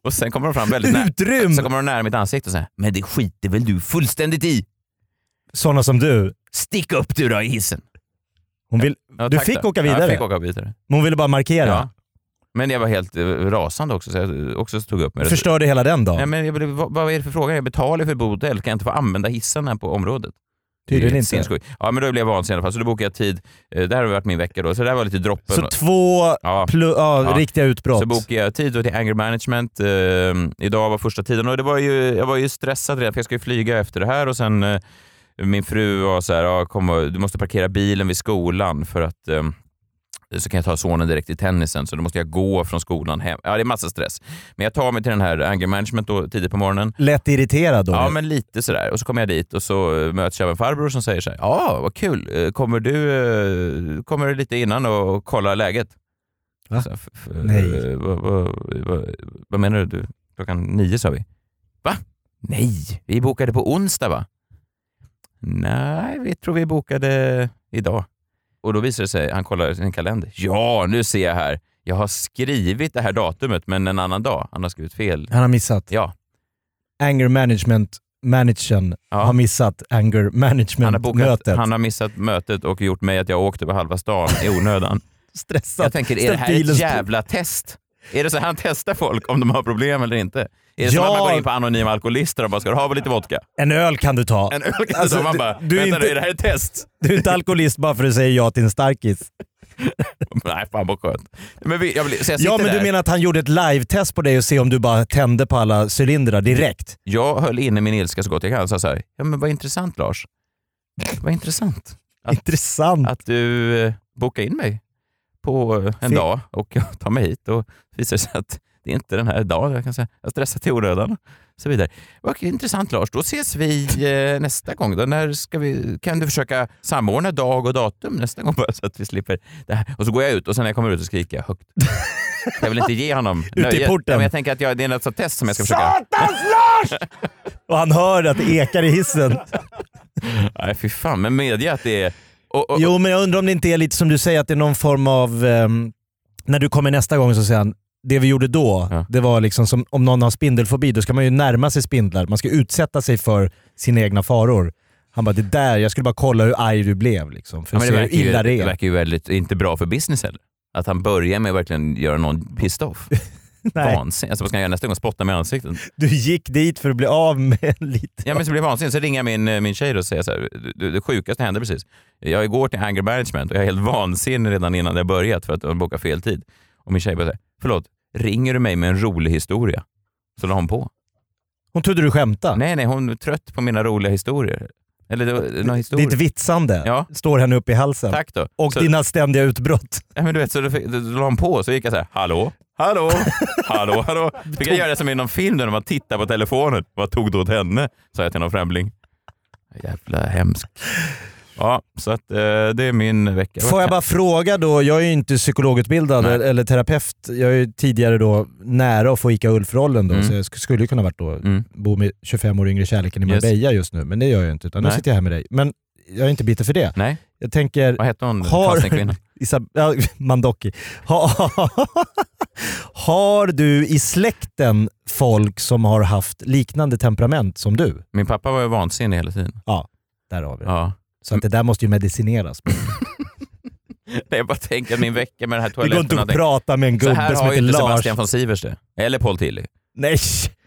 S5: och sen kommer de fram väldigt nära.
S6: Utrym!
S5: Sen kommer de nära mitt ansikte och säger, men det skiter väl du fullständigt i?
S6: Sådana som du.
S5: Stick upp du då i hissen!
S6: Hon vill,
S5: Ja,
S6: du
S5: tack
S6: fick
S5: då.
S6: åka
S5: Ja,
S6: vidare,
S5: jag fick åka vidare.
S6: men hon ville bara markera.
S5: Ja. Men jag var helt eh, rasande också, så jag eh, också tog upp mig.
S6: Förstörde hela den dagen.
S5: Nej, men jag blev, vad, vad är det för fråga? Jag betalar för botel, kan jag inte få använda hissen här på området? Det är
S6: Tydligen inte.
S5: sinnessjukt. Ja, men då blev jag vansinnig i alla fall, så då bokade jag tid. Eh, Det här har varit min vecka då, så det här var lite droppen.
S6: Så två
S5: ja.
S6: plu- ja,
S5: Ja.
S6: riktiga utbrott.
S5: Så bokade jag tid då till Anger Management. Eh, idag var första tiden och det var ju, jag var ju stressad redan för jag ska ju flyga efter det här och sen eh, min fru var så här, ja, kom och, du måste parkera bilen vid skolan för att eh, så kan jag ta sonen direkt till tennisen så då måste jag gå från skolan hem. Ja, det är massa stress. Men jag tar mig till den här Anger Management då, tidigt på morgonen.
S6: Lätt irriterad då.
S5: Ja, men lite sådär. Och så kommer jag dit och så eh, möts jag av en farbror som säger så här, ja, vad kul. Eh, Kommer du, eh, kommer du lite innan och kolla läget?
S6: Va?
S5: Så här, f- f-
S6: Nej.
S5: eh, Vad, vad, vad, vad menar du? du? Klockan nio sa vi. Va? Nej, vi bokade på onsdag va? Nej, vi tror vi bokade idag. Och då visar det sig, han kollar sin kalender. Ja, nu ser jag här. Jag har skrivit det här datumet, men en annan dag. Han har skrivit fel.
S6: Han har missat.
S5: Ja,
S6: Anger management managern
S5: Ja.
S6: har missat anger
S5: Han har, bokat,
S6: management-mötet.
S5: han har missat mötet och gjort mig att jag åkte över halva stan i onödan.
S6: stressat.
S5: jag tänker, är det här
S6: Stabilen
S5: ett
S6: stod-
S5: jävla test? Är det så här han testar folk om de har problem eller inte? Är det som
S6: Ja.
S5: att man går in på anonyma alkoholister och bara “ska du ha lite vodka?”
S6: En öl kan du ta.
S5: En öl kan du
S6: Alltså,
S5: ta. Man
S6: du-
S5: bara
S6: du är
S5: “vänta nu,
S6: inte-
S5: är det här ett test?”
S6: Du är inte alkoholist bara för att du säger ja till en starkis.
S5: Nej, fan vad skönt. Men vi, jag vill, så jag sitter
S6: Ja, men
S5: där.
S6: du menar att han gjorde ett live-test på dig och se om du bara tände på alla cylindrar direkt?
S5: Jag höll inne min ilska så gott jag kan och sa så här, “ja men vad intressant Lars. Vad intressant Att-
S6: Intressant.
S5: att du eh, bokade in mig på eh, en
S6: Fick-
S5: dag och jag tar mig hit och visar sig att det är inte den här dagen. Jag kan säga, jag stressar till onödan och så vidare. Vad intressant Lars, då ses vi eh, nästa gång. Då. När ska vi, kan du försöka samordna dag och datum nästa gång bara så att vi slipper det här? Och så går jag ut och sen när jag kommer ut så skriker jag högt. Jag vill inte ge honom
S6: i porten.
S5: Men jag tänker att jag, det är något sånt test som jag ska försöka...
S6: Och han hör att det ekar i hissen.
S5: Nej fy fan, men medge att det är... Och, och,
S6: Jo, men jag undrar om det inte är lite som du säger, att det är någon form av... ehm, när du kommer nästa gång så säger han, det vi gjorde då,
S5: Ja.
S6: det var liksom som om någon har spindelfobi, då ska man ju närma sig spindlar. Man ska utsätta sig för sina egna faror. Han bara, det där, jag skulle bara kolla hur arg du blev liksom, för
S5: Ja,
S6: att
S5: men
S6: se
S5: det,
S6: hur
S5: verkar
S6: illa det
S5: ju, det
S6: är.
S5: verkar ju väldigt, inte bra för business heller. Att han börjar med att verkligen göra någon pissed off.
S6: Nej,
S5: Vansinnig. Alltså, vad ska jag göra nästa gång? Spotta mig i ansiktet?
S6: du gick dit för att bli av med lite...
S5: Ja, men så blir jag vansinnig. Så ringer jag min, eh, min tjej då och säger så här, "Du- du, det sjukaste hände precis. Jag går till anger management och jag är helt vansinnig redan innan jag börjat för att jag bokat fel tid. Och min tjej bara säger, förlåt, ringer du mig med en rolig historia? Så la hon på.
S6: Hon trodde du skämtade.
S5: Nej, nej, hon är trött på mina roliga historier. Eller det var- några historier.
S6: Ditt vitsande
S5: Ja.
S6: står henne upp i halsen.
S5: Tack då.
S6: Och
S5: så,
S6: dina ständiga utbrott.
S5: Ja, men du vet, så då, fick, då la hon på så gick jag så här, hallå, hallå, hallå, hallå. Fick jag göra det som i någon film där man tittar på telefonen. Vad tog du åt henne? Sa jag till någon främling. Jävla hemsk. Ja, så att eh, det är min vecka.
S6: Får jag bara fråga då, jag är ju inte psykologutbildad
S5: Nej.
S6: eller, eller terapeut. Jag är ju tidigare då nära att få ICA Ulf-rollen då,
S5: Mm.
S6: så jag sk- skulle ju kunna varit då,
S5: Mm.
S6: bo med 25 år yngre kärleken i
S5: Yes.
S6: Marbella just nu, men det gör jag ju inte utan nu
S5: Nej.
S6: sitter jag här med dig. Men jag är inte bitter för det.
S5: Nej,
S6: Jag tänker,
S5: vad hette hon?
S6: Har-
S5: Har...
S6: Isab- ja, Mandoki, ha, har du i släkten folk som har haft liknande temperament som du?
S5: Min pappa var ju vansinnig hela tiden.
S6: Där har vi det.
S5: Ja.
S6: Så att det där måste ju medicineras.
S5: Nej, jag bara tänker att min vecka med den här
S6: Det
S5: toaletten.
S6: går inte
S5: och
S6: att
S5: allting.
S6: prata med en
S5: så
S6: gubbe
S5: här
S6: som
S5: har ju
S6: heter
S5: inte
S6: Lars.
S5: Sebastian von Sivers det. Eller Paul Tilly.
S6: Nej!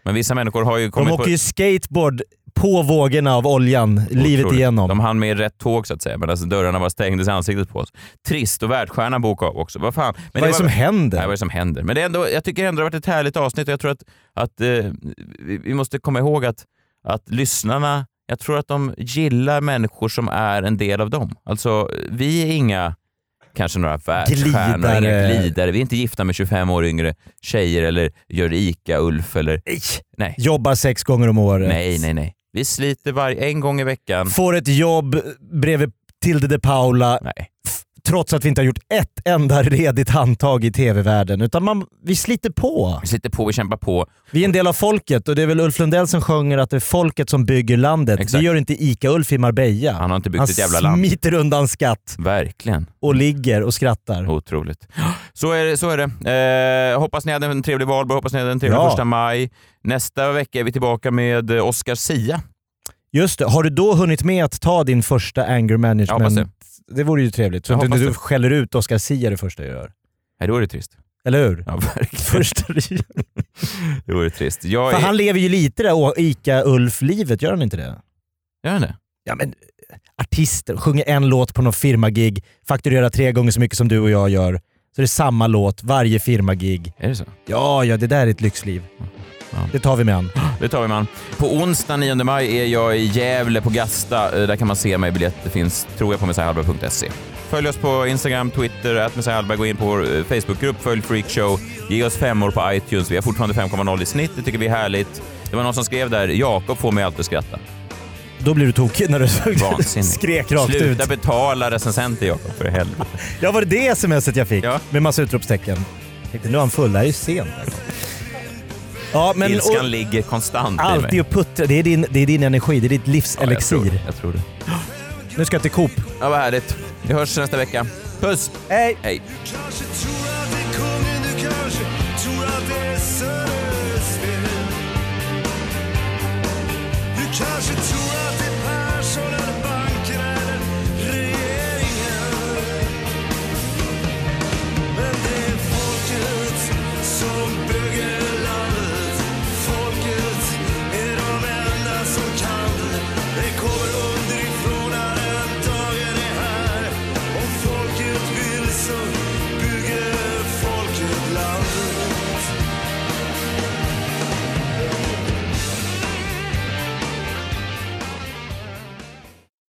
S5: Men vissa människor har ju
S6: De
S5: kommit
S6: åker ju skateboard på vågorna av oljan livet
S5: Otroligt.
S6: igenom.
S5: De hann med i rätt tåg så att säga, men alltså dörrarna var stängdes i ansiktet på oss. Trist och världsstjärnan bokade av också. Vad fan. Men
S6: Vad är det som händer?
S5: Nej, vad är det som händer? Men det är ändå, jag tycker ändå det har varit ett härligt avsnitt och jag tror att, att eh, vi vi måste komma ihåg att, att lyssnarna, jag tror att de gillar människor som är en del av dem. Alltså, vi är inga kanske några världsstjärnor,
S6: Glidare.
S5: inga glidare. Vi är inte gifta med 25 år yngre tjejer eller gör ICA-Ulf eller... Nej.
S6: Jobbar sex gånger om året.
S5: Nej, nej, nej. Vi sliter varje, en gång i veckan.
S6: Får ett jobb bredvid Tilde de Paula
S5: Nej.
S6: f- trots att vi inte har gjort ett enda redigt handtag i tv-världen. Utan man, vi sliter på.
S5: Vi sitter på, vi kämpar på.
S6: Vi är en del av folket och det är väl Ulf Lundell som sjunger att det är folket som bygger landet.
S5: Exakt.
S6: Det gör inte ICA-Ulf i Marbella.
S5: Han har inte byggt
S6: Han
S5: ett jävla land.
S6: smiter undan skatt
S5: Verkligen.
S6: och ligger och skrattar.
S5: Otroligt. Så är det. Så är det. Eh, hoppas ni hade en trevlig valborg, hoppas ni hade en trevlig
S6: Ja.
S5: första maj. Nästa vecka är vi tillbaka med eh, Oscar Sia.
S6: Just det, har du då hunnit med att ta din första anger
S5: Jag hoppas
S6: management?
S5: det.
S6: det vore ju trevligt. Så
S5: Jag
S6: att du
S5: hoppas
S6: du
S5: det.
S6: skäller ut Oscar Sia det första du gör.
S5: Nej, det vore trist.
S6: Eller hur?
S5: Ja, verkligen.
S6: Första du gör.
S5: Det vore trist. Jag
S6: För
S5: är...
S6: han lever ju lite det där ICA-Ulf-livet, gör han inte det?
S5: Gör han det?
S6: Ja men eh, artister, sjunger en låt på någon firmagig, fakturerar tre gånger så mycket som du och jag gör. Så det är samma låt varje firmagig.
S5: Är det så?
S6: Ja, ja det där är ett lyxliv.
S5: Ja.
S6: Det tar vi med an.
S5: Det tar vi man. På onsdag 9 maj är jag i Gävle på Gasta. Eh, Där kan man se mig. Biljetter finns, tror jag, på messiahallberg.se. Följ oss på Instagram, Twitter, att messiahallberg. Gå in på vår eh, Facebookgrupp, följ Freakshow. Ge oss femmor på iTunes. Vi har fortfarande 5,0 i snitt. Det tycker vi är härligt. Det var någon som skrev där, Jakob får mig alltid att skratta.
S6: Då blir du tokig när du
S5: Vansinnigt.
S6: skrek rakt ut.
S5: Sluta betala recensenter, Jakob, för helvete.
S6: Ja, var det det smset jag fick?
S5: Ja.
S6: Med massa utropstecken. Tänkte, nu är han full, det här är ju sent. Ja, men...
S5: Ilskan
S6: Och,
S5: ligger konstant i mig.
S6: alltid att puttra. Det är, din, det är din energi, det är ditt
S5: Ja, jag tror,
S6: livselixir.
S5: det. jag tror det.
S6: nu ska jag till Coop.
S5: Ja, vad härligt. Vi hörs nästa vecka. Puss!
S6: Hej!
S5: Hej!
S7: Kanske tror att det är kungen, du kanske tror att det är Söders fel. Du kanske kanske tror att det är Persson eller bankerna eller regeringen. Men det är folket som bygger